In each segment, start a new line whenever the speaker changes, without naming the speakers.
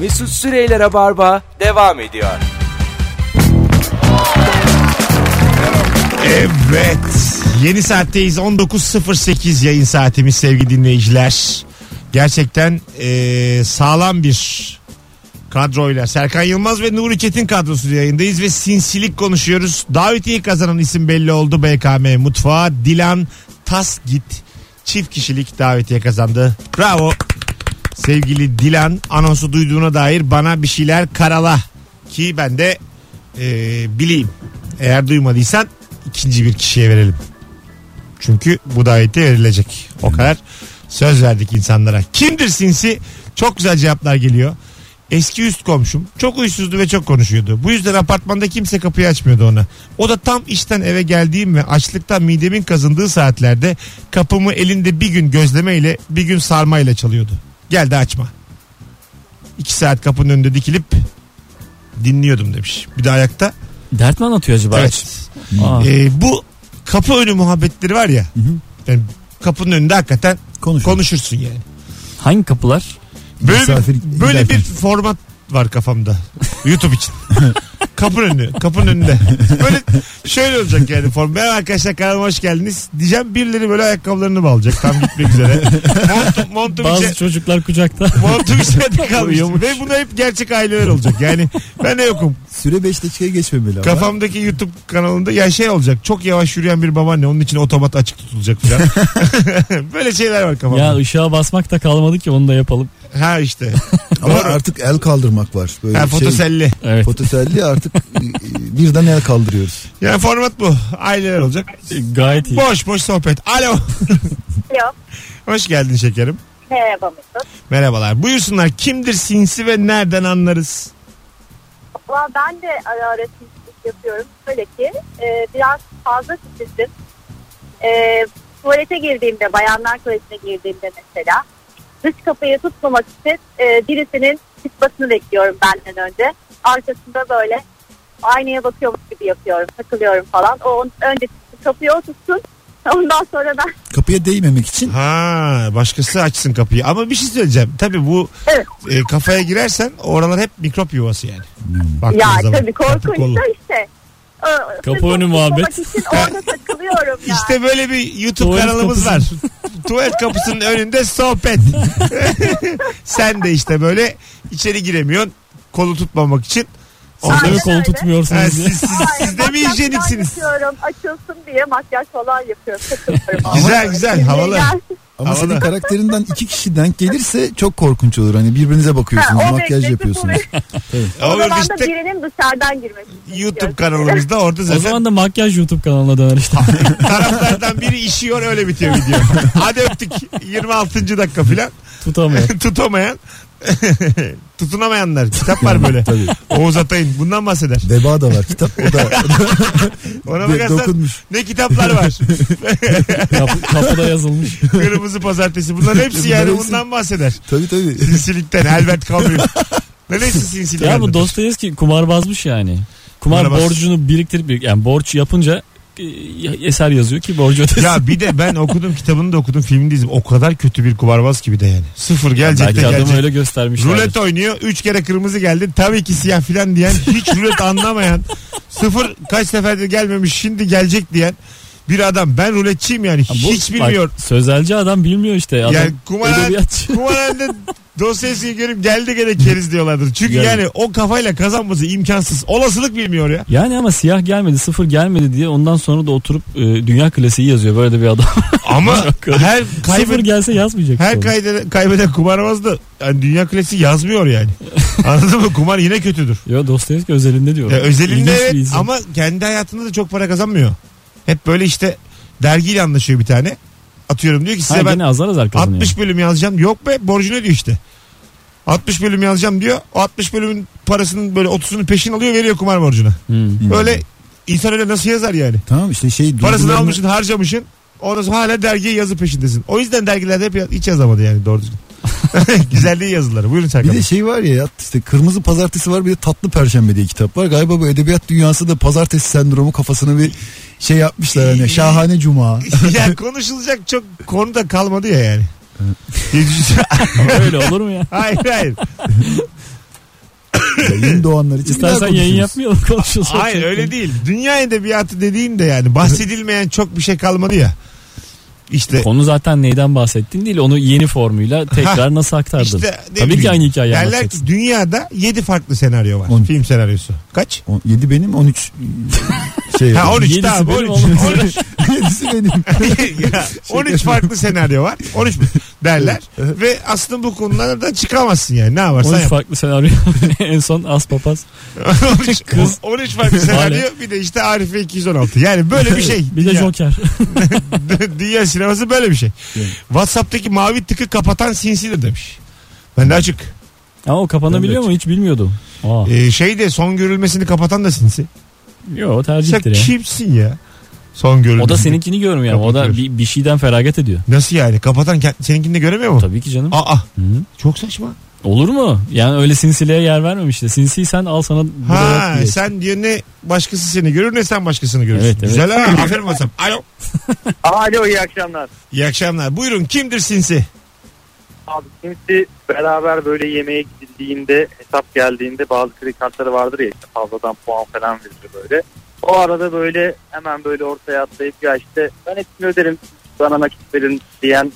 Mesut Süreyler'e barba devam ediyor.
Evet. Yeni saatteyiz. 19.08 yayın saatimiz sevgili dinleyiciler. Gerçekten eee, sağlam bir kadroyla Serkan Yılmaz ve Nuri Çetin kadrosu yayındayız ve sinsilik konuşuyoruz. Davetiye kazanan isim belli oldu BKM Mutfağı. Dilan Tasgit çift kişilik davetiye kazandı. Bravo. Sevgili Dilan anonsu duyduğuna dair bana bir şeyler karala ki ben de eee, bileyim. Eğer duymadıysan ikinci bir kişiye verelim. Çünkü bu davetiye verilecek. O kadar söz verdik insanlara. Kimdir sinsi? Çok güzel cevaplar geliyor. Eski üst komşum çok huysuzdu ve çok konuşuyordu. Bu yüzden apartmanda kimse kapıyı açmıyordu ona. O da tam işten eve geldiğim ve açlıktan midemin kazındığı saatlerde kapımı elinde bir gün gözlemeyle bir gün sarmayla çalıyordu. Gel de açma. İki saat kapının önünde dikilip dinliyordum demiş. Bir de ayakta.
Dert mi anlatıyor acaba?
Evet.
Ah.
Aa,
Ee, bu kapı önü muhabbetleri var ya. Yani kapının önünde hakikaten
Konuş.
konuşursun yani.
hangi kapılar?
Böyle,
Misafir
bir, böyle
giderken.
bir format var kafamda. YouTube için. kapının önü. Kapının önünde. Böyle şöyle olacak yani form. Merhaba arkadaşlar kanalıma hoş geldiniz. Diyeceğim birileri böyle ayakkabılarını bağlayacak. Tam gitmek üzere. Montum, montum içe-
Bazı çocuklar kucakta.
montum içeride kalmış. Ve bunu hep gerçek aileler olacak. Yani ben de yokum.
Süre 5 dakikaya geçmemeli ama.
Kafamdaki YouTube kanalında ya şey olacak çok yavaş yürüyen bir babaanne onun için otomat açık tutulacak falan. Böyle şeyler var kafamda.
ya ışığa basmak da kalmadı ki onu da yapalım.
Ha işte.
Ama
Doğru.
artık el kaldırmak var. Böyle
Ha,
şey,
fotoselli.
Evet.
fotoselli artık e, e, birden el kaldırıyoruz.
Yani format bu. Aileler olacak.
Gayet iyi.
Boş boş sohbet. Alo.
Alo.
Hoş geldin şekerim.
Merhaba Mesut.
Merhabalar. Buyursunlar kimdir sinsi ve nereden anlarız?
Valla ben de ara ara temizlik yapıyorum. Şöyle ki e, biraz fazla titizim. E, tuvalete girdiğimde, bayanlar tuvaletine girdiğimde mesela dış kapıyı tutmamak için e, birisinin çıkmasını bekliyorum benden önce. Arkasında böyle aynaya bakıyormuş gibi yapıyorum, takılıyorum falan. O on- önce kapıyı o tutsun. Ondan sonra ben
Kapıya değmemek için
Ha başkası açsın kapıyı. Ama bir şey söyleyeceğim. Tabii bu
Evet.
e, kafaya girersen oralar hep mikrop yuvası yani. Baktığın
Ya
zaman.
tabii
Kapı kollu.
korkunç da işte. Ee,
Kapı
sırf
önü
onu
muhabbet.
tutmamak için orada takılıyorum yani.
İşte böyle bir YouTube
Tuvalet
kanalımız var.
kapısı.
Tuvalet kapısının önünde sohbet. Sen de işte böyle içeri giremiyorsun. Kolu tutmamak için.
Orada
Aynen
bir kol
öyle.
Ha,
tutmuyorsunuz diye.
siz, siz, siz de mi
Makyaj falan
hijyeniksiniz?
yapıyorum, Açılsın diye makyaj falan yapıyorum. takılıyorum.
Güzel,
Ama
güzel,
böyle şey
havalı.
yani-
ama
Havada.
senin karakterinden iki kişi denk gelirse çok korkunç olur. Hani birbirinize bakıyorsunuz,
Ha, o
makyaj
bekledi,
yapıyorsunuz.
O,
Ama
zaman da
işte
birinin dışarıdan girmesi.
YouTube kanalımızda orada
O
zaten
zaman da makyaj YouTube kanalına döner işte.
taraflardan biri işiyor öyle bitiyor video. Hadi öptük 26. dakika filan.
Tutamıyor.
Tutamayan tutunamayanlar kitap var böyle.
Tabii.
Oğuz Atay'ın bundan bahseder.
Veba da var kitap. O da
Ona
de-
bakarsan
dokunmuş.
ne kitaplar var.
Kap- kapıda yazılmış.
Kırmızı pazartesi. Bunların hepsi yani
Bunların hepsi-
bundan bahseder.
Tabii tabii.
Sinsilikten Albert Camus. Neresi sinsilik?
Ya bu
Albert?
Dostoyevski kumarbazmış yani. Kumar
Kumarbaz.
borcunu biriktirip birik- yani borç yapınca e, eser yazıyor ki borcu ödesin.
Ya bir de ben okudum kitabını da okudum filmini de izledim. O kadar kötü bir kumarbaz gibi de yani. Sıfır gelecek de
Belki adamı
gelecek.
öyle şey göstermişler.
Rulet oynuyor. Üç kere kırmızı geldi. Tabii ki siyah filan diyen. Hiç rulet anlamayan. Sıfır kaç seferdir gelmemiş. Şimdi gelecek diyen. Bir adam ben ruletçiyim yani hiç bilmiyor.
sözelci adam bilmiyor işte. Adam
Yani kumar-
edebiyatçı.
Kumarhanede dosyasını görüp geldi gene keriz diyorlardır. Çünkü
Yani.
yani o kafayla kazanması imkansız. Olasılık bilmiyor ya.
Yani ama siyah gelmedi sıfır gelmedi diye ondan sonra da oturup e, dünya klasiği yazıyor böyle bir adam.
Ama her
sıfır
kaybeden
gelse yazmayacak.
her
sonra.
kaybeden, kaybeden kumarbaz da yani dünya klasiği yazmıyor yani. Anladın mı? Kumar yine kötüdür.
Yo Dostoyevski özelinde diyor.
Ya E, özelinde
İlginç bir
evet
izin.
ama kendi hayatında da çok para kazanmıyor. Hep böyle işte dergiyle anlaşıyor bir tane. Atıyorum diyor ki size
Ha,
ben
gene azar azar kazanıyor.
60 bölüm yazacağım. Yok be borcunu diyor işte. 60 bölüm yazacağım diyor. O 60 bölümün parasının böyle 30'unu peşin alıyor veriyor kumar borcuna.
Hmm.
Böyle insan öyle nasıl yazar yani?
Tamam işte şey
Parasını
duygularını-
almışsın harcamışsın. Ondan sonra hala dergiye yazı peşindesin. O yüzden dergilerde hep ya- hiç yazamadı yani doğru düzgün. Güzelliği yazıları. Buyurun
Bir
Serkan.
de şey var ya işte kırmızı pazartesi var bir de tatlı perşembe diye kitap var. Galiba bu edebiyat dünyası da pazartesi sendromu kafasına bir şey yapmışlar
Ee,
hani şahane cuma.
şey-
ya konuşulacak çok konu da kalmadı ya yani.
Öyle olur mu ya?
Hayır hayır.
Ya yeni doğanlar için bir daha
İstersen yayın
konuşuruz.
yapmayalım konuşuruz.
Hayır öyle değil. Dünya edebiyatı dediğin de yani bahsedilmeyen çok bir şey kalmadı ya. İşte
Konu zaten neyden bahsettin değil onu yeni formuyla tekrar nasıl aktardın?
işte ne
Tabii ki
bileyim.
aynı hikayeyi
Derler
anlatacaksın.
ki dünyada 7 farklı senaryo var.
On.
Film senaryosu. Kaç?
On- Yedi benim 13 şey.
Ha 13
Yedisi
tamam.
benim,
13.
on-
13.
Yedisi benim.
Ya,
Şey
13 farklı senaryo var. 13 mü? derler. Ve aslında bu konulardan çıkamazsın yani. Ne yaparsan
13
yap.
farklı senaryo en son as papaz.
13, 13 farklı senaryo bir de işte Arife 216. Yani böyle bir şey.
Bir de
Dünya-
Joker.
Dünya sineması böyle bir şey. Whatsapp'taki mavi tıkı kapatan sinsidir demiş. Ben de açık.
Ama o kapanabiliyor mu hiç bilmiyordum. Aa.
Ee, şey de son görülmesini kapatan da sinsi.
Yok o
Sen
tercihtir ya.
kimsin ya? Son görülmesini.
O da seninkini görmüyor ama o da bir, bir şeyden feragat ediyor.
Nasıl yani? Kapatan kend- seninkini de göremiyor mu?
Tabii ki canım.
Aa
Hı.
çok saçma.
Olur mu? Yani öyle sinsiliğe yer vermemiş de. Sinsiysen al sana burada
Ha
yok diye.
sen diyor ne başkası seni görür ne sen başkasını görürsün.
Evet, evet.
Güzel ha aferin WhatsApp. Alo.
Alo iyi akşamlar.
İyi akşamlar. Buyurun kimdir sinsi?
Abi kimisi beraber böyle yemeğe gidildiğinde hesap geldiğinde bazı kredi kartları vardır ya işte fazladan puan falan verir böyle. O arada böyle hemen böyle ortaya atlayıp ya işte ben hepsini öderim bana nakit verin diyen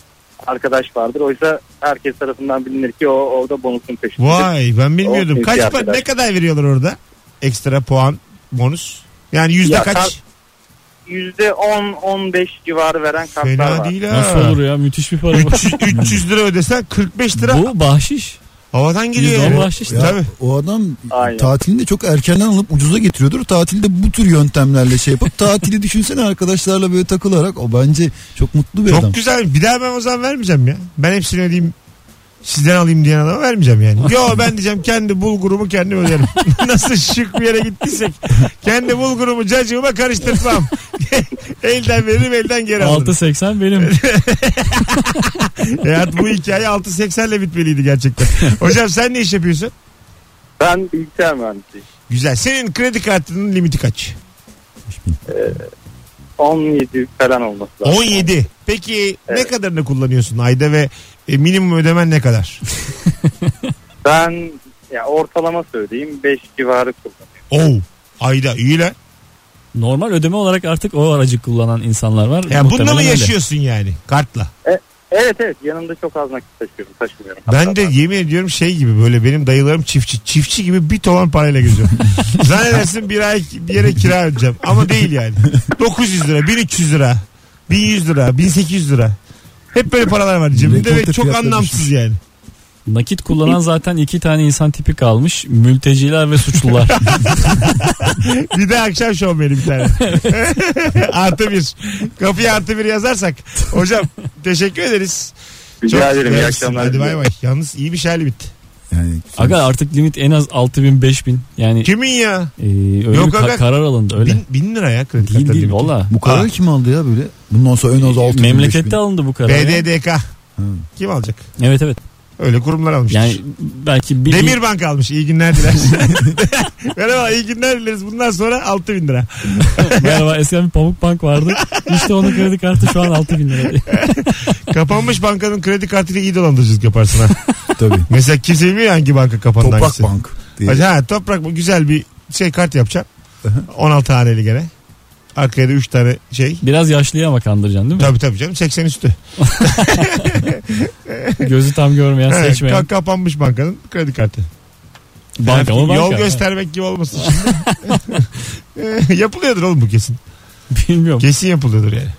arkadaş vardır. Oysa herkes tarafından bilinir ki o orada bonusun peşinde.
Vay ben bilmiyordum.
O
Kaç
sinsi
pa-
Oh, arkadaş.
ne kadar veriyorlar orada? Ekstra puan bonus. Yani yüzde
Ya,
kaç?
%10-15 civarı veren kartlar
Fena
var.
değil ha.
Nasıl olur ya müthiş bir para. bu.
300, 300 lira ödesen 45 lira
Bu bahşiş.
havadan geliyor.
Yüzde on
yani.
bahşiş.
Ya,
Tabii.
O adam
Aynen.
tatilini çok erkenden alıp ucuza getiriyordur. Tatilde bu tür yöntemlerle şey yapıp tatili düşünsene arkadaşlarla böyle takılarak. O bence çok mutlu bir
Çok
adam.
güzel. Bir daha ben o zaman vermeyeceğim ya. Ben hepsini ödeyeyim. Sizden alayım diyen adama vermeyeceğim yani. Yo ben diyeceğim kendi bulgurumu kendim öderim. Nasıl şık bir yere gittiysek kendi bulgurumu cacığıma karıştırmam. elden veririm elden geri alırım.
6.80 benim.
Hayat bu hikaye 6.80 ile bitmeliydi gerçekten. Hocam sen ne iş yapıyorsun?
Ben bilgisayar mühendisiyim.
Güzel. Senin kredi kartının limiti kaç?
17 falan olması lazım.
17. Peki ne
Evet.
kadarını kullanıyorsun ayda ve e, minimum ödemen ne kadar?
Ben ya ortalama söyleyeyim 5 civarı kullanıyorum.
Oh.
Oo. Ayda iyi lan.
Normal ödeme olarak artık o aracı kullanan insanlar var.
Ya
Muhtemelen
bununla mı
öyle.
yaşıyorsun yani kartla?
E, Evet evet yanımda çok az nakit taşıyorum taşımıyorum.
Ben de yemin ediyorum şey gibi böyle benim dayılarım çiftçi. Çiftçi gibi bir tolan parayla geziyorum. Zannedersin bir ay bir yere kira ödeyeceğim. Ama değil yani. 900 lira, 1300 lira, 1100 lira, 1800 lira. Hep böyle paralar var cebimde ve
Rekorte
çok
fiyatlar
anlamsız yani.
Nakit kullanan zaten iki tane insan tipi kalmış. Mülteciler ve suçlular.
Bir de akşam şovmeni bir tane. artı bir. Kapıya artı bir yazarsak. Hocam teşekkür ederiz.
Rica
Çok-
ederim iyi
Görüşürüz.
akşamlar.
Hadi bay
diliyorum.
bay. Yalnız iyi bir şeyli bitti.
Yani
Aga artık limit en az 6000 5000 yani
Kimin ya?
e, öyle
Yok
bir ka-
aga.
karar alındı öyle.
Bin, bin lira ya kredi
değil
kartı
değil
limiti.
valla.
bu
Aa.
kararı kim aldı ya böyle? Bundan sonra en az 6
Memlekette alındı bu karar. ya.
BDDK. Kim alacak?
Evet evet.
Öyle kurumlar almıştır.
Yani belki bir
Demirbank almış. İyi günler dileriz. Merhaba iyi günler dileriz. Bundan sonra 6000 bin lira.
Merhaba eskiden bir pamuk bank vardı. İşte onun kredi kartı şu an 6000 lira. diye.
Kapanmış bankanın kredi kartıyla iyi dolandırıcılık yaparsın ha.
Tabii.
Mesela kimse bilmiyor ya hangi banka kapandı
Toprak
hangisi.
Bank. diye.
Ha, toprak bu güzel bir şey kart yapacağım. 16 haneli gene. Arkaya da 3 tane şey.
Biraz yaşlıya ama kandıracaksın değil mi?
Tabii tabii canım 80 üstü.
Gözü tam görmeyen
Evet,
seçmeyen.
ka- kapanmış bankanın kredi kartı.
Banka
Yani
ama banka.
Yol göstermek gibi olmasın şimdi. Yapılıyordur oğlum bu kesin.
Bilmiyorum.
Kesin yapılıyordur yani.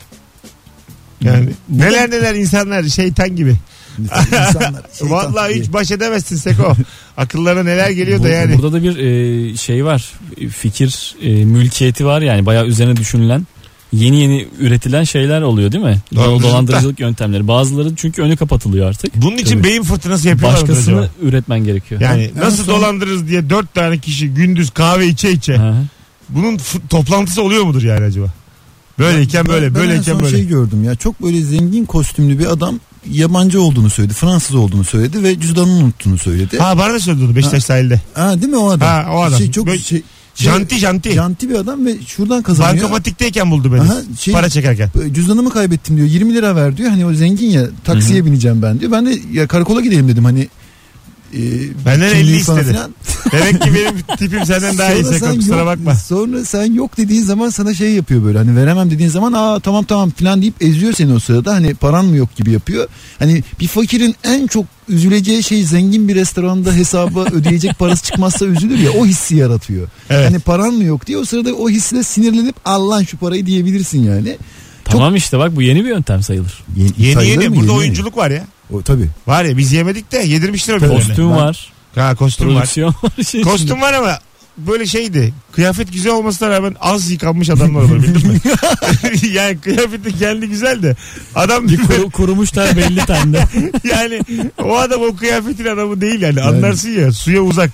Yani neler neler insanlar şeytan gibi.
İnsanlar, şeytan
Vallahi
diye.
hiç baş edemezsin Seko. Akıllarına neler geliyor da
Bu-
yani.
Burada da bir e, şey var. Fikir e, mülkiyeti var yani bayağı üzerine düşünülen. Yeni yeni üretilen şeyler oluyor değil mi?
Dolandırıcılık da.
Dolandırıcılık yöntemleri. Bazıları çünkü önü kapatılıyor artık.
Bunun için
Tabii.
beyin fırtınası yapıyorlar mı
Başkasını
acaba?
üretmen gerekiyor.
Yani
En
nasıl
son-
dolandırırız diye dört tane kişi gündüz kahve içe içe.
Hı hı.
Bunun f- toplantısı oluyor mudur yani acaba? Böyleyken böyle,
Ben en
böyleyken
son
böyle.
şey gördüm ya çok böyle zengin kostümlü bir adam yabancı olduğunu söyledi. Fransız olduğunu söyledi ve cüzdanını unuttuğunu söyledi. Ha,
Ha bana da söyledi onu Beşiktaş sahilde.
değil mi o adam?
Ha, o adam.
Şey, çok
Böyle-
şey, şey-
Janti janti.
janti bir adam ve şuradan kazanıyor.
Bankamatikteyken buldu beni.
Aha, şey-
Para çekerken.
Cüzdanımı kaybettim diyor 20 lira ver diyor. Hani o zengin ya taksiye bineceğim ben diyor. Ben de ya karakola gidelim dedim hani
Benden
kimliğin
50
sana
istedi.
filan.
Demek ki benim tipim senden daha iyi
Sonra sen
Serkan kusura
yok-
bakma.
Sonra sen yok dediğin zaman sana şey yapıyor böyle hani veremem dediğin zaman aa tamam tamam filan deyip eziyor seni o sırada hani paran mı yok gibi yapıyor. Hani bir fakirin en çok üzüleceği şey zengin bir restoranda hesaba ödeyecek parası çıkmazsa üzülür ya o hissi yaratıyor.
Evet.
Hani paran mı yok diye o sırada o hisle sinirlenip al lan şu parayı diyebilirsin yani.
Tamam işte bak bu yeni bir yöntem sayılır.
Yeni
Yeni yeni burada oyunculuk var ya.
O, tabii.
Var ya biz yemedik de yedirmişler o birilerine.
Kostüm var,
Ha kostüm var.
prodüksiyon var. şey
Kostüm var ama böyle şeydi. Kıyafet güzel olmasına rağmen az yıkanmış adamlar olur bildin mi? yani kıyafeti kendi güzel de adam
şimdi. Kuru- kurumuş ter belli tende.
yani o adam o kıyafetin adamı değil yani anlarsın ya suya uzak.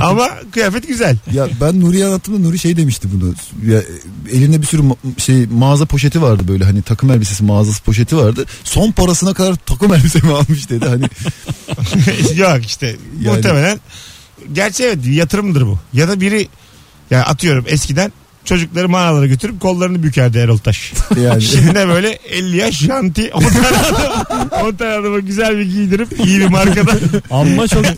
ama kıyafet güzel.
Ya ben Nuri'ye anlattığımda Nuri şey demişti bunu. Ya, elinde bir sürü ma- şey mağaza poşeti vardı böyle hani takım elbisesi mağazası poşeti vardı. Son parasına kadar takım elbisemi almış dedi. Hani
Yok işte
Yani-
muhtemelen. Gerçi evet yatırımdır bu. Ya da biri ya atıyorum eskiden çocukları mağaralara götürüp kollarını bükerdi Erol Taş.
yani
Şimdi de böyle 50 yaş janti 10 tane adam, 10 tane adama güzel bir giydirip iyi bir markada
Ama çok e,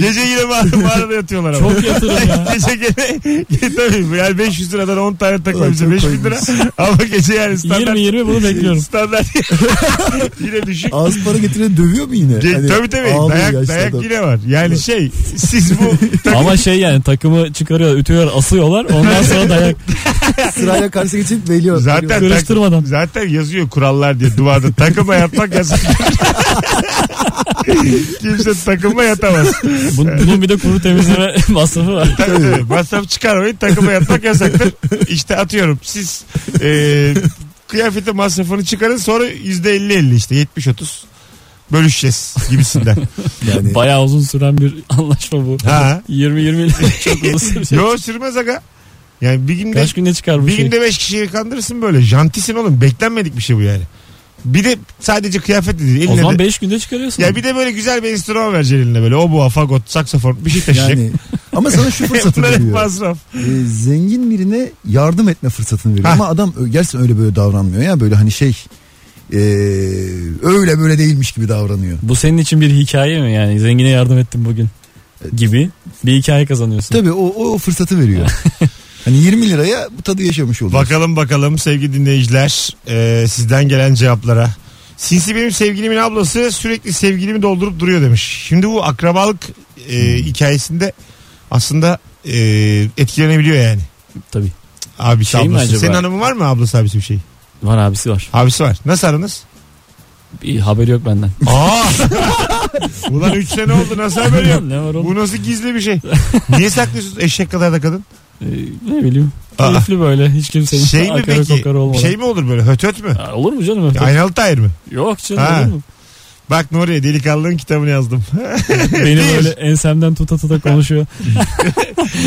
gece yine mağara- mağarada yatıyorlar ama.
çok yatırım ya.
gece gene tabii yani 500 liradan 10 tane takım
Ay,
elbise
çok
5000 lira ama gece yani standart
20-20 bunu bekliyorum.
standart yine düşük.
az para getiren dövüyor mu yine?
Ge-
Hani
tabii tabii
ağlıyor
dayak,
yaşlı
dayak
adam.
yine var. Yani şey siz bu
Ama şey yani takımı çıkarıyorlar, ütüyorlar, asıyorlar. Ondan sonra dayak
Sırayla karşı geçip veriyor.
zaten
veriyor.
tak-
karıştırmadan.
zaten yazıyor kurallar diye duvarda takıma yatmak yasak. Kimse takıma yatamaz.
Bun- bunun bir de kuru temizleme masrafı var.
Tabii, masraf çıkarmayın takıma yatmak yasaktır. İşte atıyorum siz e, kıyafetin masrafını çıkarın sonra %50-50 işte 70-30 bölüşeceğiz gibisinden.
yani
Bayağı uzun süren bir anlaşma bu.
Ha.
20-20 ile çok uzun sürecek.
Yo sürmez aga. Yani bir günde
Şey Kaç günde çıkar bu
bir
şey?
günde beş kişiyi kandırırsın böyle. Jantisin oğlum. Beklenmedik bir şey bu yani. Bir de sadece kıyafet de değil.
O
Eline
zaman
de,
5 günde çıkarıyorsun.
ya bir de böyle güzel bir enstrüman vereceksin eline böyle. Oboa, fagot, saksafon bir şey taşıyacak.
yani ama sana şu fırsatı
Bunlar hep
veriyor.
masraf.
e, zengin birine yardım etme fırsatını veriyor.
Hah.
Ama adam ö- gerçekten öyle böyle davranmıyor ya böyle hani şey e, öyle böyle değilmiş gibi davranıyor.
Bu senin için bir hikaye mi yani? Zengine yardım ettim bugün gibi bir hikaye kazanıyorsun.
Tabii o, o, o fırsatı veriyor. hani 20 liraya bu tadı yaşamış oluyor.
Bakalım bakalım sevgili dinleyiciler e, sizden gelen cevaplara. Sinsi benim sevgilimin ablası sürekli sevgilimi doldurup duruyor demiş. Şimdi bu akrabalık e,
Hmm.
hikayesinde aslında e, etkilenebiliyor yani.
Tabii.
Abisi
Şey mi
ablası.
acaba?
Senin hanımın var mı ablası abisi bir şey?
Var abisi var.
Abisi var. Nasıl aranız?
Bir haberi yok benden.
Aa! Ulan 3 sene oldu nasıl haber yok?
ne var oğlum?
Bu nasıl gizli bir şey? Niye saklıyorsunuz eşek kadar da kadın?
Ee, ne bileyim.
Aa.
Keyifli böyle hiç kimsenin
Şey mi
akarı
peki?
kokarı olmadan.
Şey mi olur böyle höt höt mü?
Aa, olur mu canım? öyle?
Aynalı tayır mı?
Yok canım
Ha.
olur mu?
Bak Nuriye delikanlının kitabını yazdım.
Benim öyle ensemden tuta tuta konuşuyor.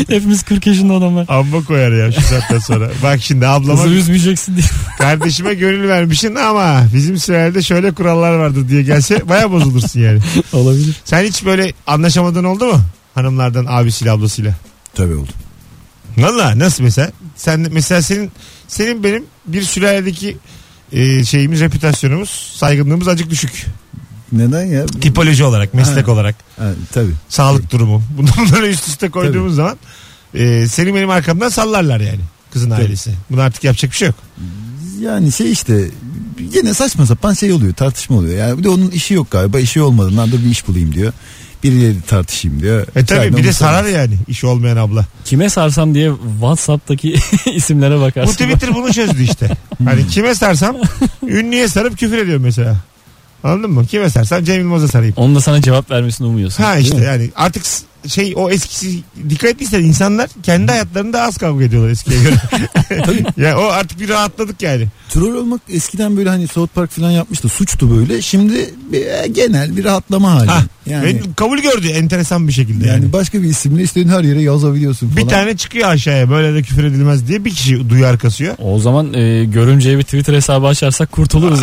Hepimiz 40 yaşında adamlar.
Amma koyar ya şu saatten sonra. Bak şimdi ablama
Kızı üzmeyeceksin diye.
kardeşime gönül vermişsin ama bizim sürelerde şöyle kurallar vardır diye gelse baya bozulursun yani.
Olabilir.
Sen hiç böyle anlaşamadığın oldu mu? Hanımlardan abisiyle ablasıyla.
Tabii oldu.
Valla nasıl mesela? Sen mesela senin senin benim bir süreledeki e, şeyimiz, reputasyonumuz, saygınlığımız acık düşük.
Neden ya?
Tipoloji olarak, meslek
Ha.
olarak,
Ha, tabii.
sağlık durumu. Bunları üst üste koyduğumuz zaman e, seni benim arkamdan sallarlar yani kızın ailesi. Bunu artık yapacak bir şey yok.
Yani şey işte yine saçma sapan şey oluyor tartışma oluyor. Yani bir de onun işi yok galiba işi olmadığından da bir iş bulayım diyor. Biriyle de tartışayım diyor.
E tabii
Yani
bir de
onu
sarar yani işi olmayan abla.
Kime sarsam diye Whatsapp'taki isimlere
Bu
bakarsın.
Twitter bunu çözdü işte. Hani kime sarsam ünlüye sarıp küfür ediyorum mesela. Anladın mı? Kime sarsam Cem Yılmaz'a sarayım.
Onun da sana cevap vermesini umuyorsun.
Ha
Değil
işte
mi?
yani artık s- şey o eskisi dikkat ettiysen insanlar kendi hayatlarında az kavga ediyorlar eskiye göre. yani o artık bir rahatladık yani.
Troll olmak eskiden böyle hani South Park falan yapmıştı. Suçtu böyle. Şimdi bir- e, genel bir rahatlama hali.
Ha,
yani
Ve kabul gördü enteresan bir şekilde yani.
yani başka bir isimle istediğin her yere yazabiliyorsun
bir
falan.
tane çıkıyor aşağıya böyle de küfür edilmez diye bir kişi duyar kasıyor.
O zaman e, görümceye bir Twitter hesabı açarsak kurtuluruz.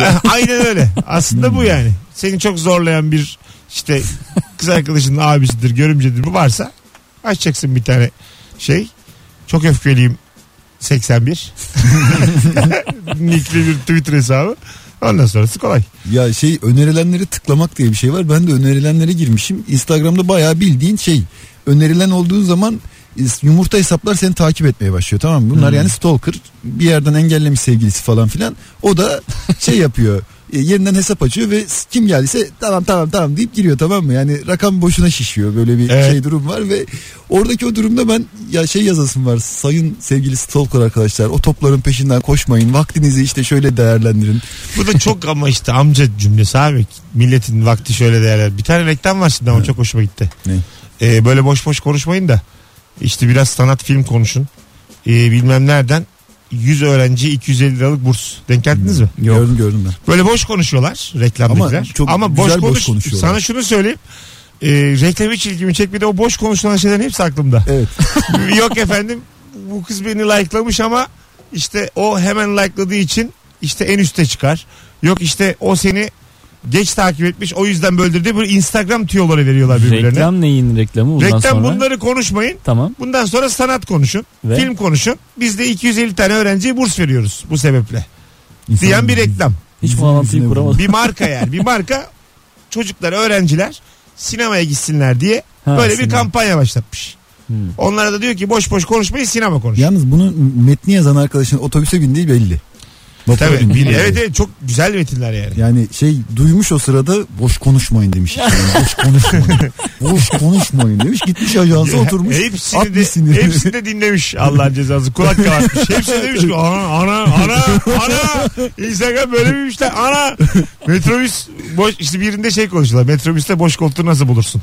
ya.
Aynen öyle. Aslında bu yani. Seni çok zorlayan bir işte kız arkadaşının abisidir, görümcedir bu varsa açacaksın bir tane şey. Çok öfkeliyim 81. Nikli bir Twitter hesabı. Ondan sonrası kolay.
Ya şey önerilenleri tıklamak diye bir şey var. Ben de önerilenlere girmişim. Instagram'da bayağı bildiğin şey. Önerilen olduğun zaman is- yumurta hesaplar seni takip etmeye başlıyor tamam mı? Bunlar yani stalker. Bir yerden engellemiş sevgilisi falan filan. O da şey yapıyor. e, Yerinden hesap açıyor ve s- kim geldiyse tamam tamam tamam deyip giriyor tamam mı? Yani rakam boşuna şişiyor böyle bir
Evet.
şey durum var ve oradaki o durumda ben ya şey yazasım var sayın sevgili stalker arkadaşlar o topların peşinden koşmayın vaktinizi işte şöyle değerlendirin.
Bu da çok ama işte amca cümlesi abi. Milletin vakti şöyle değerler. Bir tane reklam var şimdi ama çok hoşuma gitti.
Ne?
Ee, böyle boş boş konuşmayın da. işte biraz sanat film konuşun. Ee, bilmem nereden. 100 öğrenci 250 liralık burs. Denk geldiniz mi?
Gördüm gördüm ben.
Böyle boş konuşuyorlar reklamdakiler. Ama,
Hmm. Ama çok
boş,
güzel boş
konuş-
konuşuyorlar.
Sana şunu söyleyeyim. Ee, reklam hiç ilgimi çekmedi. O boş konuşulan şeylerin hepsi aklımda.
Evet.
Yok efendim bu kız beni likelamış ama işte o hemen likeladığı için işte en üste çıkar. Yok işte o seni geç takip etmiş o yüzden böldür diye böyle Instagram tüyoları veriyorlar birbirlerine. Reklam,
Reklam neyin reklamı bundan sonra?
bunları konuşmayın.
Tamam.
Bundan sonra sanat konuşun,
Ve?
film konuşun. Biz de 250 tane öğrenciye burs veriyoruz bu sebeple. Diyen bir reklam.
Hiç
Bizim
bağlantıyı
yüzüne
kuramadım.
Bir marka yani. Bir marka çocuklar, öğrenciler sinemaya gitsinler diye
Ha,
böyle bir
sinema.
kampanya başlatmış.
Hmm.
Onlara da diyor ki boş boş konuşmayın sinema konuşun.
Yalnız bunun metni yazan arkadaşın otobüse bindiği belli. Vapura
Tabii.
bindiği
bil-
belli.
evet evet çok güzel metinler yani.
Yani şey duymuş o sırada boş konuşmayın demiş. işte. Yani boş konuşmayın. boş konuşmayın demiş. Gitmiş ajansa oturmuş.
Hepsini de,
atmış sinirini.
hepsini de dinlemiş Allah'ın cezası. Kulak kabartmış. Hepsini demiş ki ana ana ana ana. Instagram böyle miymiş lan ana. Metrobüs boş işte birinde şey konuşuyorlar. Metrobüste boş koltuğu nasıl bulursun?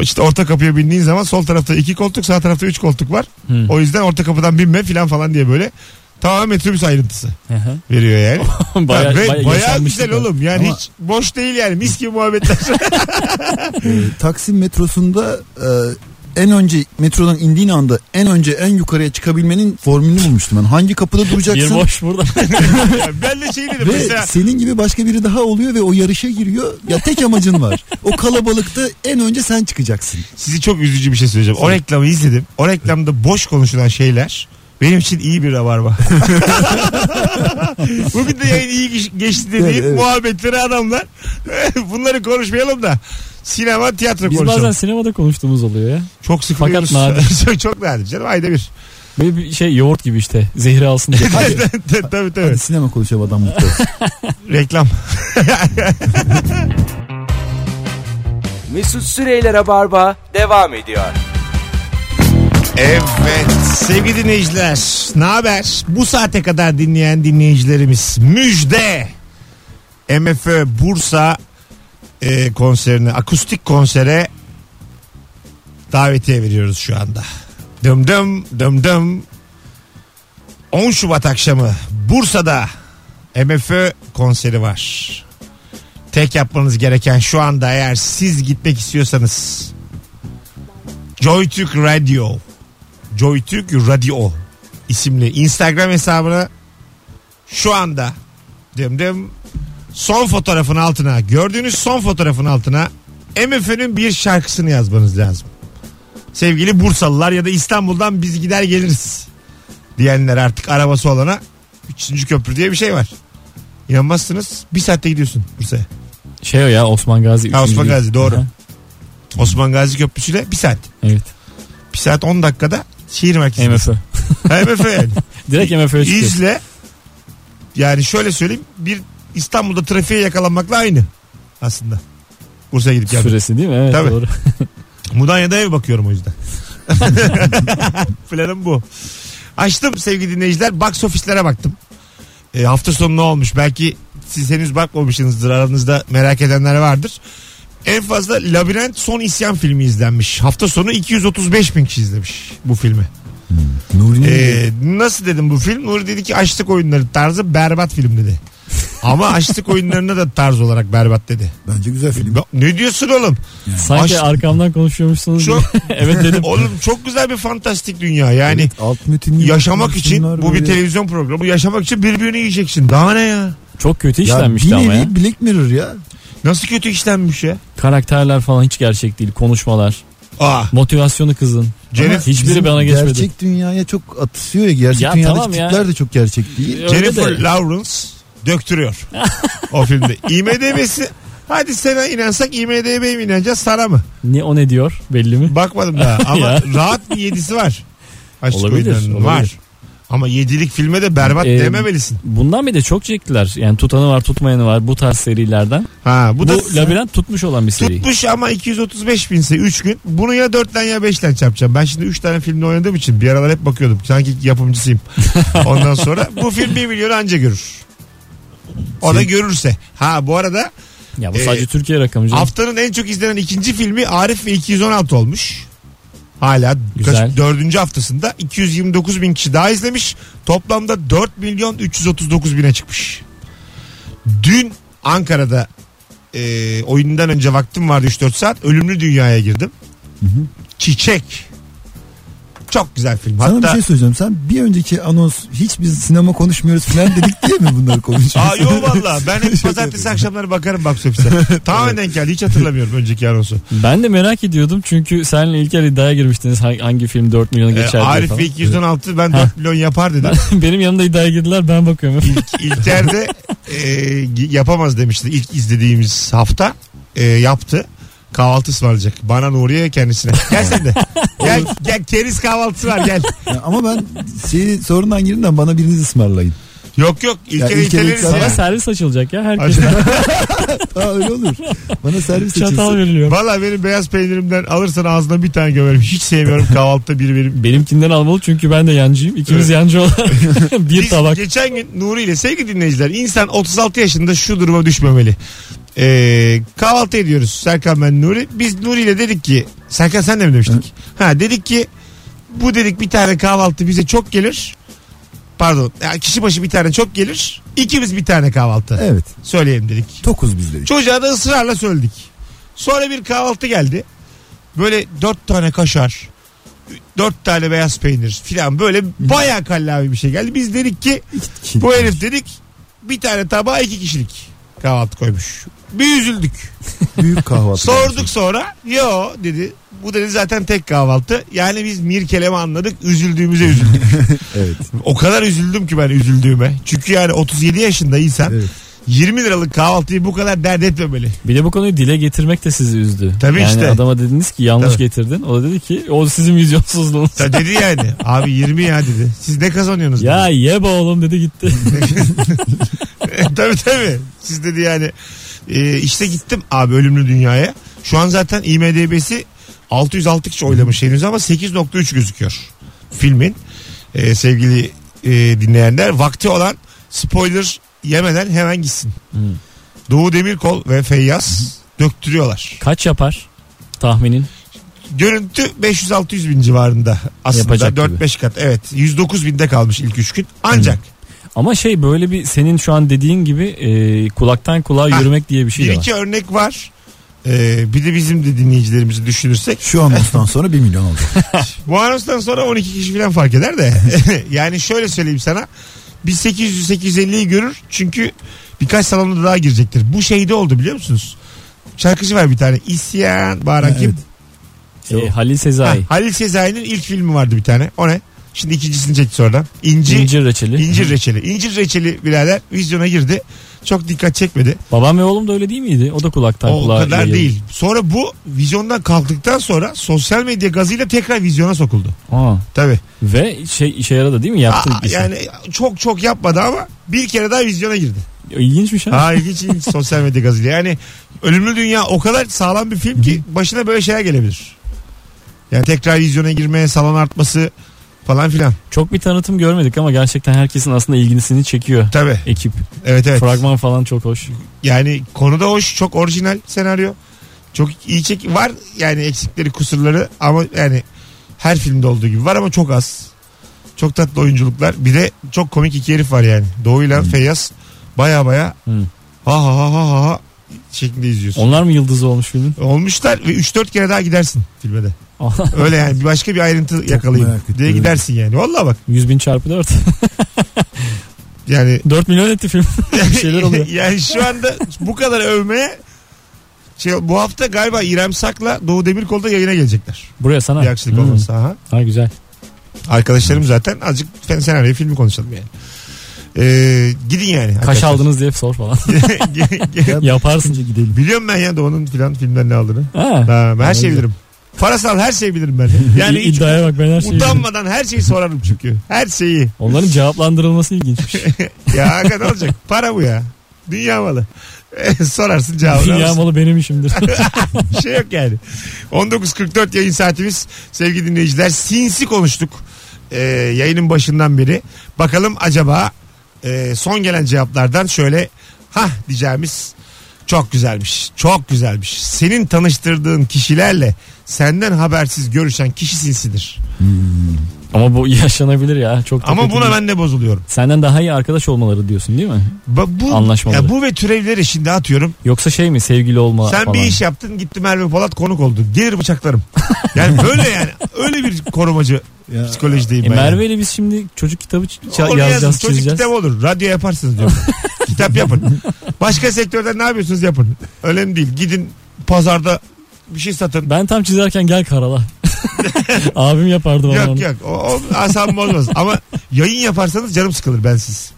İşte orta kapıya bindiğin zaman sol tarafta iki koltuk sağ tarafta üç koltuk var.
Hmm.
O yüzden orta kapıdan binme filan falan diye böyle. Tamamen metrobüs ayrıntısı
Aha.
veriyor yani.
Baya-
Ve
baya
bayağı
yaşanmışlık
güzel
var.
oğlum. Yani
Ama-
hiç boş değil yani. Mis gibi muhabbetler.
Ee, Taksim metrosunda e, en önce metrodan indiğin anda en önce en yukarıya çıkabilmenin formülünü bulmuştum ben. Hangi kapıda
Bir
duracaksın?
boş burada.
Ya ben de şey dedim
Ve
mesela
senin gibi başka biri daha oluyor ve o yarışa giriyor. Ya tek amacın var. O kalabalıkta en önce sen çıkacaksın.
sizi çok üzücü bir şey söyleyeceğim. O reklamı izledim. O reklamda boş konuşulan şeyler benim için iyi bir rabarba. Bugün de yayın iyi geç- geçti dediğim
Evet, evet.
muhabbetleri adamlar. Bunları konuşmayalım da sinema tiyatro
Biz
konuşalım.
bazen sinemada konuştuğumuz oluyor ya.
Çok sıkılıyoruz.
Fakat
çok, çok nadir canım ayda bir.
Böyle bir şey yoğurt gibi işte. Zehri alsın diye.
tabii tabii.
Hadi sinema konuşalım adam mutlu. olsun.
Reklam.
Mesut Süreyler'e barba devam ediyor.
Evet sevgili dinleyiciler ne haber? Bu saate kadar dinleyen dinleyicilerimiz müjde. MFÖ Bursa e, konserine akustik konsere davetiye veriyoruz şu anda. Dım dım dım dım. 10 Şubat akşamı Bursa'da MFÖ konseri var. Tek yapmanız gereken şu anda eğer siz gitmek istiyorsanız Joytürk Radio Joytürk Radio isimli Instagram hesabına şu anda dım dım son fotoğrafın altına gördüğünüz son fotoğrafın altına MFÖ'nün bir şarkısını yazmanız lazım. Sevgili Bursalılar ya da İstanbul'dan biz gider geliriz diyenler artık arabası olana 3. köprü diye bir şey var. İnanmazsınız bir saatte gidiyorsun Bursa'ya.
Şey o ya Osman Gazi.
Ha,
üçüncü
Osman
değil.
Gazi, doğru.
Aha,
Osman Gazi Köprüsü'yle bir saat.
Evet.
Bir saat 10 dakikada şehir merkezinde.
MFÖ.
MFÖ yani.
Direkt MFÖ'ye çıkıyor.
İzle. Yani şöyle söyleyeyim. Bir İstanbul'da trafiğe yakalanmakla aynı aslında. Bursa'ya gidip gelmek.
Süresi değil mi? Evet
Tabii.
doğru.
Mudanya'da ev bakıyorum o yüzden. Planım bu. Açtım sevgili dinleyiciler. Box ofislere baktım. E, hafta sonu ne olmuş? Belki siz henüz bakmamışsınızdır. Aranızda merak edenler vardır. En fazla Labirent Son İsyan filmi izlenmiş. Hafta sonu 235 bin kişi izlemiş bu filmi.
Nuri'nin
Ee, nasıl dedim bu film? Nuri dedi ki açlık oyunları tarzı berbat film dedi. Ama açlık oyunlarına da tarz olarak berbat dedi.
bence güzel film.
Ne diyorsun oğlum?
Sanki
Aş-
arkamdan konuşuyormuşsunuz
Çok-
gibi. evet dedim.
Oğlum çok güzel bir fantastik dünya. Yani
alt metinli
yaşamak için
resimler
bu bir
böyle.
televizyon programı. Yaşamak için birbirini yiyeceksin. Daha ne ya?
Çok kötü
Ya bir
işlenmişti ama ya.
nevi Black Mirror ya.
Nasıl kötü işlenmiş ya?
Karakterler falan hiç gerçek değil. Konuşmalar.
Aa.
Motivasyonu kızın.
Cenef-
Ama hiçbiri
Bizim
bana geçmedi.
Gerçek dünyaya çok atışıyor ya. Gerçek
Ya
dünyadaki
tamam ya.
tipler de çok gerçek değil.
Öyle
Jennifer
de.
Lawrence Döktürüyor. o filmde. IMDB'si Hadi sana inansak IMDB'ye mi inanacağız sana mı?
Ne o ne diyor belli mi?
Bakmadım daha ama
Ya.
rahat bir yedisi var. Aşk
Olabilir,
oyunlarının
olabilir.
var. Ama yedilik filme de berbat
Ee,
dememelisin.
Bundan bir de çok çektiler. Yani tutanı var tutmayanı var bu tarz serilerden.
Ha, bu,
Bu,
da
labirent tutmuş olan bir seri.
tutmuş ama 235 binse 3 gün. Bunu ya 4'ten ya 5'ten çarpacağım. Ben şimdi 3 tane filmle oynadığım için bir aralar hep bakıyordum. Sanki yapımcısıyım. Ondan sonra bu film 1 milyonu anca görür. O da
Sen-
görürse. Ha bu arada
Ya bu
Ee,
sadece Türkiye rakamı canım.
Haftanın en çok izlenen ikinci filmi Arif ve 216 olmuş. Hala
Güzel.
kaç- dördüncü haftasında 229 bin kişi daha izlemiş. Toplamda 4 milyon 339 bine çıkmış. Dün Ankara'da e, oyundan önce vaktim vardı 3-4 saat. Ölümlü Dünya'ya girdim. Çiçek. Çok güzel film.
Sana bir
Hatta
şey söyleyeceğim. Sen bir önceki anons hiç biz sinema konuşmuyoruz falan dedik diye mi bunları konuşuyorsun?
Aa yok valla ben hep pazartesi akşamları bakarım box office'e. Tamamen denk geldi hiç hatırlamıyorum önceki anonsu.
Ben de merak ediyordum çünkü senle İlker iddiaya girmiştiniz hangi, hangi film 4 milyonu
Ee,
geçer diye
Arif
falan.
ve 216 ben 4 milyon yapar dedim.
Benim yanımda iddiaya girdiler ben bakıyorum.
İlker de e, gi- yapamaz demişti ilk izlediğimiz hafta e, yaptı. Kahvaltı ısmarlayacak. Bana Nuriye kendisine. Gel sen de. Gel, gel keriz kahvaltısı var gel.
Ya ama ben şeyi sorundan girin de bana biriniz ısmarlayın.
Yok yok
Ya
İlker'i
İlker'i
iteleriz
İlker-
Sana
ya.
servis açılacak ya herkes.
Acaba-
Aa öyle olur. Bana servis
Çatal
açılsın.
veriliyor.
Valla benim beyaz peynirimden alırsan ağzına bir tane gömerim. Hiç sevmiyorum kahvaltıda biri benim.
Benimkinden almalı çünkü ben de yancıyım. İkimiz yancı olarak bir
Biz
tabak.
geçen gün Nuri ile sevgili dinleyiciler insan 36 yaşında şu duruma düşmemeli. Ee, kahvaltı ediyoruz Serkan ben Nuri. Biz Nuri ile dedik ki Serkan sen de mi demiştik? Ha dedik ki bu dedik bir tane kahvaltı bize çok gelir. Pardon ya kişi başı bir tane çok gelir. İkimiz bir tane kahvaltı
Evet.
söyleyelim dedik.
Tokuz biz dedik.
Çocuğa da ısrarla söyledik. Sonra bir kahvaltı geldi. Böyle dört tane kaşar, dört tane beyaz peynir filan böyle bayağı kallavi bir şey geldi. Biz dedik ki
kişilik.
bu herif dedik bir tane tabağa iki kişilik kahvaltı koymuş. Bir üzüldük.
Büyük kahvaltı.
Sorduk sonra yo dedi bu dedi zaten tek kahvaltı. Yani biz mirkeleme anladık üzüldüğümüze üzüldük.
Evet.
o kadar üzüldüm ki ben üzüldüğüme. Çünkü yani 37 yaşında insan
Evet.
20 liralık kahvaltıyı bu kadar dert etmemeli.
Bir de bu konuyu dile getirmek de sizi üzdü.
Tabii
yani
işte.
adama dediniz ki yanlış
Tabii.
getirdin. O da dedi ki o sizin vizyonsuzluğunuz.
Ya dedi yani abi 20 ya dedi. Siz ne kazanıyorsunuz?
ya ye be oğlum dedi gitti.
dedi. tabii tabii. Siz dedi yani e, işte gittim abi ölümlü dünyaya. Şu an zaten IMDB'si 606 kişi oylamış henüz ama 8.3 gözüküyor filmin. E, sevgili e, dinleyenler vakti olan spoiler yemeden hemen gitsin.
Hmm.
Doğu Demirkol ve Feyyaz döktürüyorlar.
Kaç yapar tahminin?
Görüntü 500-600 bin civarında aslında
Yapacak
4-5 kat evet 109 binde kalmış ilk 3 gün ancak
Ama şey böyle bir senin şu an dediğin gibi e, kulaktan kulağa
Ha,
yürümek diye bir şey
Bir
de var.
iki örnek var. Ee, bir de bizim de dinleyicilerimizi düşünürsek.
Şu anonstan sonra 1 milyon oldu.
Bu anonstan sonra 12 kişi falan fark eder de. yani şöyle söyleyeyim sana. Biz 800-850'yi görür çünkü birkaç salonda daha girecektir. Bu şeyde oldu biliyor musunuz? Şarkıcı var bir tane. İsyan bağıran
Ha,
kim?
E, Halil
Ha,
Sezai.
Halil Sezai'nin ilk filmi vardı bir tane. O ne? Şimdi ikincisini çekti oradan. İnci, İncir,
İncir reçeli.
Reçeli. İncir Reçeli birader vizyona girdi. Çok dikkat çekmedi.
Babam ve oğlum da öyle değil miydi? O da kulaktan
O
kulağa.
kadar
yayıldı.
değil. Sonra bu vizyondan kalktıktan sonra sosyal medya gazıyla tekrar vizyona sokuldu.
Aa,
Tabii.
ve şey işe yaradı değil mi? Yaptı.
Aa,
bir şey.
yani çok çok yapmadı ama bir kere daha vizyona girdi.
İlginçmiş ha.
Ha ilginç ilginç sosyal medya gazıyla. Yani Ölümlü Dünya o kadar sağlam bir film ki başına böyle şeyler gelebilir. Yani tekrar vizyona girmeye salon artması falan filan.
Çok bir tanıtım görmedik ama gerçekten herkesin aslında ilgisini çekiyor
Tabii.
ekip.
Evet evet.
Fragman falan çok hoş.
Yani konuda hoş, çok orijinal senaryo. Çok iyi çek var yani eksikleri, kusurları ama yani her filmde olduğu gibi var ama çok az. Çok tatlı oyunculuklar. Bir de çok komik iki herif var yani. Doğu ile
Hmm.
Feyyaz baya baya
Hmm.
ha ha ha ha ha şeklinde izliyorsun.
Onlar mı yıldız olmuş filmin?
Olmuşlar ve 3-4 kere daha gidersin filme de. Öyle yani bir başka bir ayrıntı yakalayayım
merak ettim.
diye gidersin yani. Vallahi bak
100 bin çarpı 4.
yani
4 milyon etti film. bir şeyler oluyor.
yani şu anda bu kadar övmeye şey, bu hafta galiba İrem Sak'la Doğu Demirkol'da yayına gelecekler.
Buraya sana.
Bir aksilik
Hmm.
olmazsa. Aha.
Ha güzel.
Arkadaşlarım zaten azıcık fen- senaryo filmi konuşalım yani. Ee, gidin yani.
Kaş
arkadaşlar.
aldınız diye sor falan. Yaparsın.
gidelim.
Biliyorum ben ya Doğu'nun filan filmden ne aldığını.
Ha.
Ha, ben her şeyi bilirim. Parasal her şeyi bilirim ben. Yani
Yani
hiç
iddiaya bak ben her şeyi. biliyorum.
utanmadan her şeyi sorarım çünkü. Her şeyi.
Onların cevaplandırılması ilginçmiş.
Ya aga ne olacak? Para bu ya. Dünya malı. Sorarsın cevabını
Dünya
alırsın.
malı benim işimdir.
Bir şey yok yani. 19.44 yayın saatimiz. Sevgili dinleyiciler sinsi konuştuk. Ee, yayının başından beri. Bakalım acaba e, son gelen cevaplardan şöyle ha diyeceğimiz çok güzelmiş. Çok güzelmiş. Senin tanıştırdığın kişilerle senden habersiz görüşen kişi sinsidir.
Ama bu yaşanabilir ya. Çok da
Ama
kötü
buna
değil.
ben de bozuluyorum.
Senden daha iyi arkadaş olmaları diyorsun değil mi?
Ba- bu,
Anlaşmaları.
ya bu ve türevleri şimdi atıyorum.
Yoksa şey mi sevgili olma
Sen
falan. E,
bir iş yaptın gitti Merve Polat konuk oldu. Gelir bıçaklarım. Yani böyle yani. Öyle bir korumacı
Ya.
psikolojideyim
E,
ben. yani.
Merve ile biz şimdi çocuk kitabı ç- ça-
Onu yazın.
yazacağız
Çocuk
çizeceğiz.
kitabı olur. Radyo yaparsınız diyorum. Kitap yapın. Başka sektörden ne yapıyorsunuz yapın. Önemli değil. Gidin pazarda bir şey satın.
Ben tam çizerken gel karala. Abim yapardı bana
yok
onu.
yok. O, o asabım olmaz. Ama yayın yaparsanız canım sıkılır bensiz.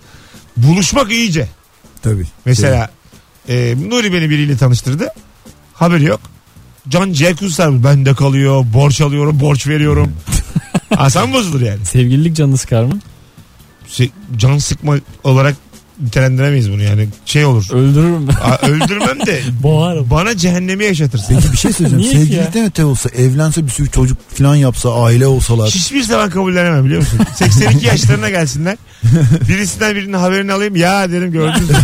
Buluşmak iyice.
Tabii.
Mesela e, Nuri beni biriyle tanıştırdı. Haberi yok. Can ciğer kuzu sarmış. Bende kalıyor. Borç alıyorum. Borç veriyorum. Asam bozulur yani.
Sevgililik canını sıkar mı?
Se- Can sıkma olarak nitelendiremeyiz bunu yani. Şey olur.
Öldürürüm ben.
A- öldürmem de
Boğarım.
bana cehennemi yaşatırsın.
Peki bir şey söyleyeceğim.
Niye ki ya?
Sevgililikten öte olsa evlense bir sürü çocuk falan yapsa aile olsalar.
Hiçbir zaman kabullenemem biliyor musun? 82 yaşlarına gelsinler. Birisinden birinin haberini alayım. Ya derim gördünüz mü?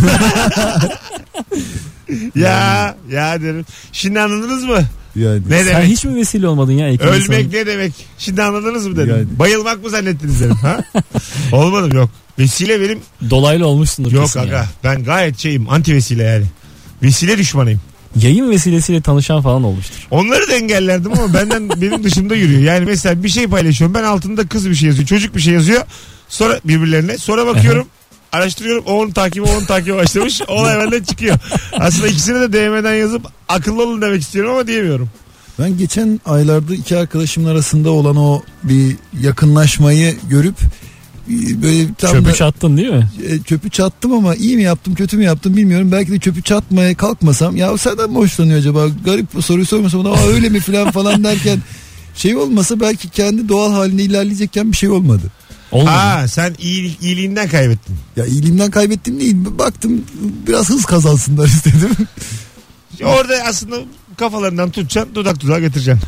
ya ya derim. Şimdi anladınız mı?
Yani.
Ne
Sen
demek?
hiç mi vesile olmadın ya? iki
Ölmek
insanın?
ne demek? Şimdi anladınız mı dedim.
Yani.
Bayılmak mı zannettiniz dedim. Ha? Olmadım yok. Vesile benim
Dolaylı olmuşsundur
yok
kesin
aga.
yani.
Ben gayet şeyim anti vesile yani. Vesile düşmanıyım.
Yayın vesilesiyle tanışan falan olmuştur.
Onları da engellerdim ama benden benim dışımda yürüyor. Yani mesela bir şey paylaşıyorum. Ben altında kız bir şey yazıyor. Çocuk bir şey yazıyor. Sonra birbirlerine. Sonra bakıyorum. araştırıyorum. O onun takibi o onun takibi başlamış. Olay benden çıkıyor. Aslında ikisine de DM'den yazıp akıllı olun demek istiyorum ama diyemiyorum.
Ben geçen aylarda iki arkadaşımın arasında olan o bir yakınlaşmayı görüp e, böyle tam da-
Çöpü çattın değil mi?
e, çöpü çattım ama iyi mi yaptım kötü mü yaptım bilmiyorum. Belki de çöpü çatmaya kalkmasam ya o senden mi hoşlanıyor acaba? Garip bir soruyu sormasam ona "Aa, öyle mi falan falan derken şey olmasa belki kendi doğal haline ilerleyecekken bir şey olmadı.
Olmadı.
Aa sen iyilik, iyiliğinden kaybettin.
Ya iyiliğimden kaybettim değil baktım biraz hız kazansınlar istedim.
Orada aslında kafalarından tutacaksın dudak dudağa getireceksin.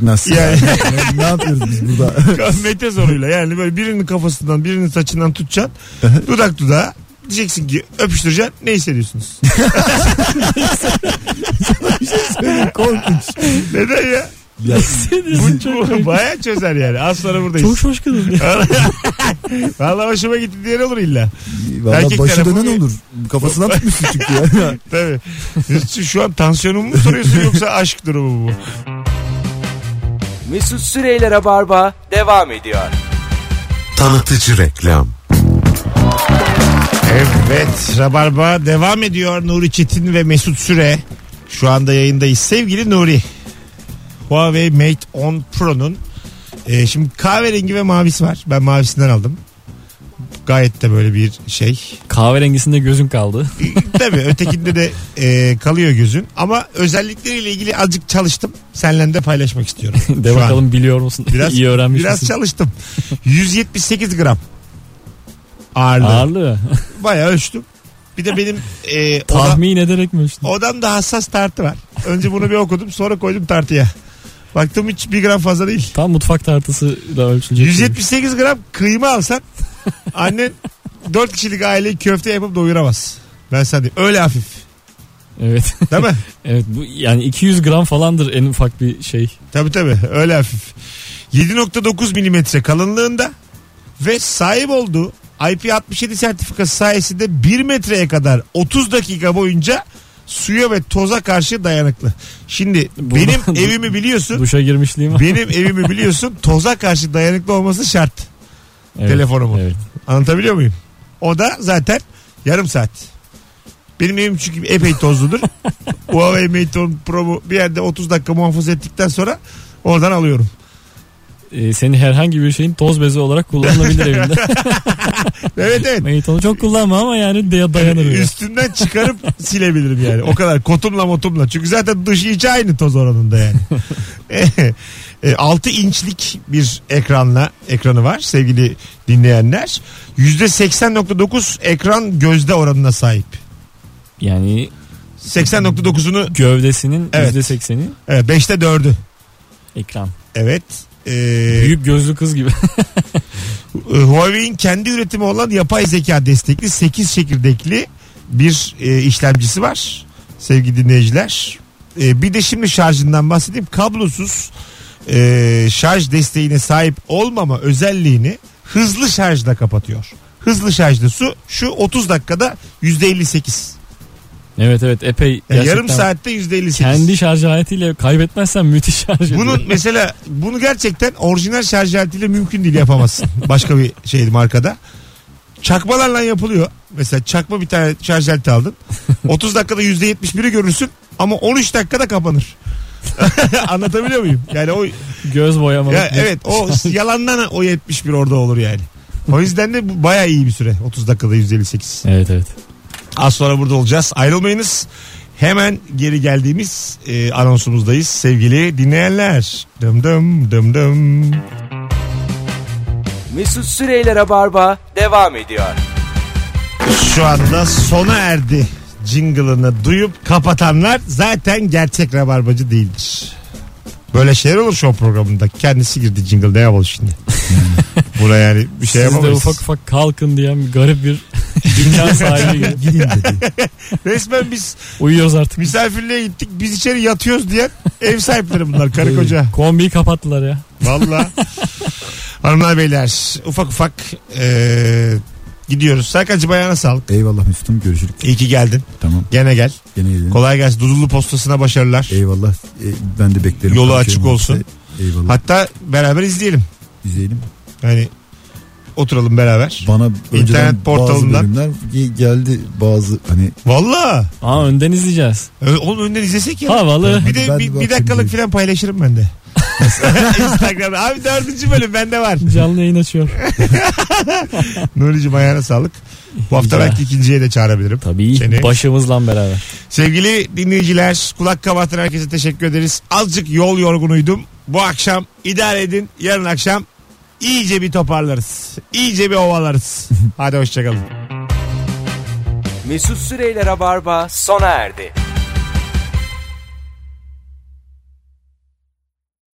Nasıl?
Yani
ne yapıyoruz biz burada?
mete zoruyla yani böyle birinin kafasından birinin saçından tutacaksın. dudak dudağa diyeceksin ki öpüştüreceksin ne hissediyorsunuz?
Korkunç.
Neden ya?
Ya,
Bu, bu baya çözer yani. Az sonra buradayız.
Çok hoş kızım. diye.
Vallahi hoşuma gitti diyen olur illa.
Valla
Erkek
başı
tarafı
dönen
bir-
olur. Kafasından tutmuşsun çünkü ya.
Tabii. Mesut'cum şu an tansiyonumu mu soruyorsun yoksa aşk durumu mu bu?
Mesut Süreyler'e barba devam ediyor.
Tanıtıcı reklam.
Evet. Rabarba devam ediyor. Nuri Çetin ve Mesut Süre. Şu anda yayındayız. Sevgili Nuri. Huawei Mate 10 Pro'nun e, şimdi kahverengi ve mavisi var. Ben mavisinden aldım. Gayet de böyle bir şey.
Kahverengisinde gözün kaldı.
Tabii ötekinde de e, kalıyor gözün. Ama özellikleriyle ilgili azıcık çalıştım. Seninle de paylaşmak istiyorum.
De
Şu an.
bakalım biliyor musun?
Biraz-
İyi öğrenmiş
Biraz
misin?
çalıştım. 178 gram ağırlığı.
Ağırlığı.
Bayağı ölçtüm. Bir de benim e, odam,
Tahmin ederek mi ölçtün?
odamda hassas tartı var. Önce bunu bir okudum sonra koydum tartıya. Baktım hiç bir gram fazla değil.
Tam mutfak tartısı da ölçülecek.
178 gram kıyma alsan annen 4 kişilik aileyi köfte yapıp doyuramaz. Ben sana diyeyim. Öyle hafif.
şey. Evet.
Değil mi?
evet bu yani 200 gram falandır en ufak bir şey.
Tabii tabii öyle hafif. 7.9 milimetre kalınlığında ve sahip olduğu IP67 sertifikası sayesinde 1 metreye kadar 30 dakika boyunca suya ve toza karşı dayanıklı. Şimdi
Bu-
benim evimi biliyorsun.
Duşa girmişliğim var.
benim evimi biliyorsun. Toza karşı dayanıklı olması şart.
Evet,
telefonumu.
Evet.
Anlatabiliyor muyum? O da zaten yarım saat. Benim evim çünkü epey tozludur. Huawei Mate 10 Pro'mu bir yerde 30 dakika muhafaza ettikten sonra oradan alıyorum.
e, senin herhangi bir şeyin toz bezi olarak kullanılabilir evinde.
Evet evet.
Maytonu çok kullanma ama yani de- dayanır. ya.
Üstünden çıkarıp silebilirim yani. O kadar kotumla motumla. Çünkü zaten dışı içi aynı toz oranında yani. 6 inçlik bir ekranla ekranı var sevgili dinleyenler. %80.9 ekran gözde oranına sahip.
Yani
80.9'unu
gövdesinin
Evet.
%80'i
5'te 4'ü.
ekran.
Evet. Ee,
Büyük gözlü kız gibi.
E, Huawei'in kendi üretimi olan yapay zeka destekli 8 çekirdekli bir e, işlemcisi var sevgili dinleyiciler. E, bir de şimdi şarjından bahsedeyim. Kablosuz e, şarj desteğine sahip olmama özelliğini hızlı şarjla kapatıyor. Hızlı şarjda su şu 30 dakikada %58.
evet evet epey
Yani
gerçekten
E, yarım saatte %58.
kendi şarj aletiyle kaybetmezsen müthiş şarj ediyor.
Bunun mesela bunu gerçekten orijinal şarj aletiyle mümkün değil yapamazsın. Başka bir şey markada. Çakmalarla yapılıyor. Mesela çakma bir tane şarj aleti aldın. 30 dakikada %71'i görürsün ama 13 dakikada kapanır. Anlatabiliyor muyum? Yani o
göz boyamalı.
ya evet o yalandan o 71 orada olur yani. O yüzden de bu bayağı iyi bir süre. 30 dakikada %58.
Evet evet.
Az sonra burada olacağız. Ayrılmayınız. Hemen geri geldiğimiz e, anonsumuzdayız sevgili dinleyenler. Dım dım dım dım.
Mesut Süreyler'e barba devam ediyor.
Şu anda sona erdi jingle'ını duyup kapatanlar zaten gerçek rabarbacı değildir. Böyle şeyler olur şu programında. Kendisi girdi jingle ne yapalım şimdi? Buna yani bir şey
Siz de
yapamayız.
ufak ufak kalkın diyen bir garip bir imkan sahibi gibi.
Gidin dedi.
Resmen biz
Uyuyoruz artık.
misafirliğe gittik biz içeri yatıyoruz diyen ev sahipleri bunlar karı koca.
Kombiyi kapattılar ya.
Valla. Hanımlar beyler ufak ufak eee, gidiyoruz. Serkan'cığım ayağına sağlık.
Eyvallah Müslüm görüşürüz.
İyi ki geldin.
Tamam
Gene gel.
gene gelin.
Kolay gelsin. Dudullu postasına başarılar.
Eyvallah. E, ben de beklerim.
Yolu
Konuşalım
açık
işte.
olsun.
Eyvallah.
Hatta beraber izleyelim.
İzleyelim.
Yani oturalım beraber.
Bana önceden
portalından.
bazı bölümler ge- geldi bazı hani
Valla.
Aa önden izleyeceğiz.
Ö- Oğlum önden izlesek ya.
Havalı.
Bir
Hadi ben
de bir,
bir
bir dakikalık
bakayım.
falan paylaşırım ben de. Instagram'da. Abi dördüncü bölüm bende var.
Canlı yayın açıyor.
Nuri'cim ayağına sağlık. Bu hafta
Rica.
belki ikinciye de çağırabilirim.
Tabii
Seni.
başımızla beraber.
Sevgili dinleyiciler kulak kabartan herkese teşekkür ederiz. Azıcık yol yorgunuydum. Bu akşam idare edin. Yarın akşam iyice bir toparlarız. İyice bir ovalarız. Hadi hoşçakalın.
Mesut Süreyler'e barba sona erdi.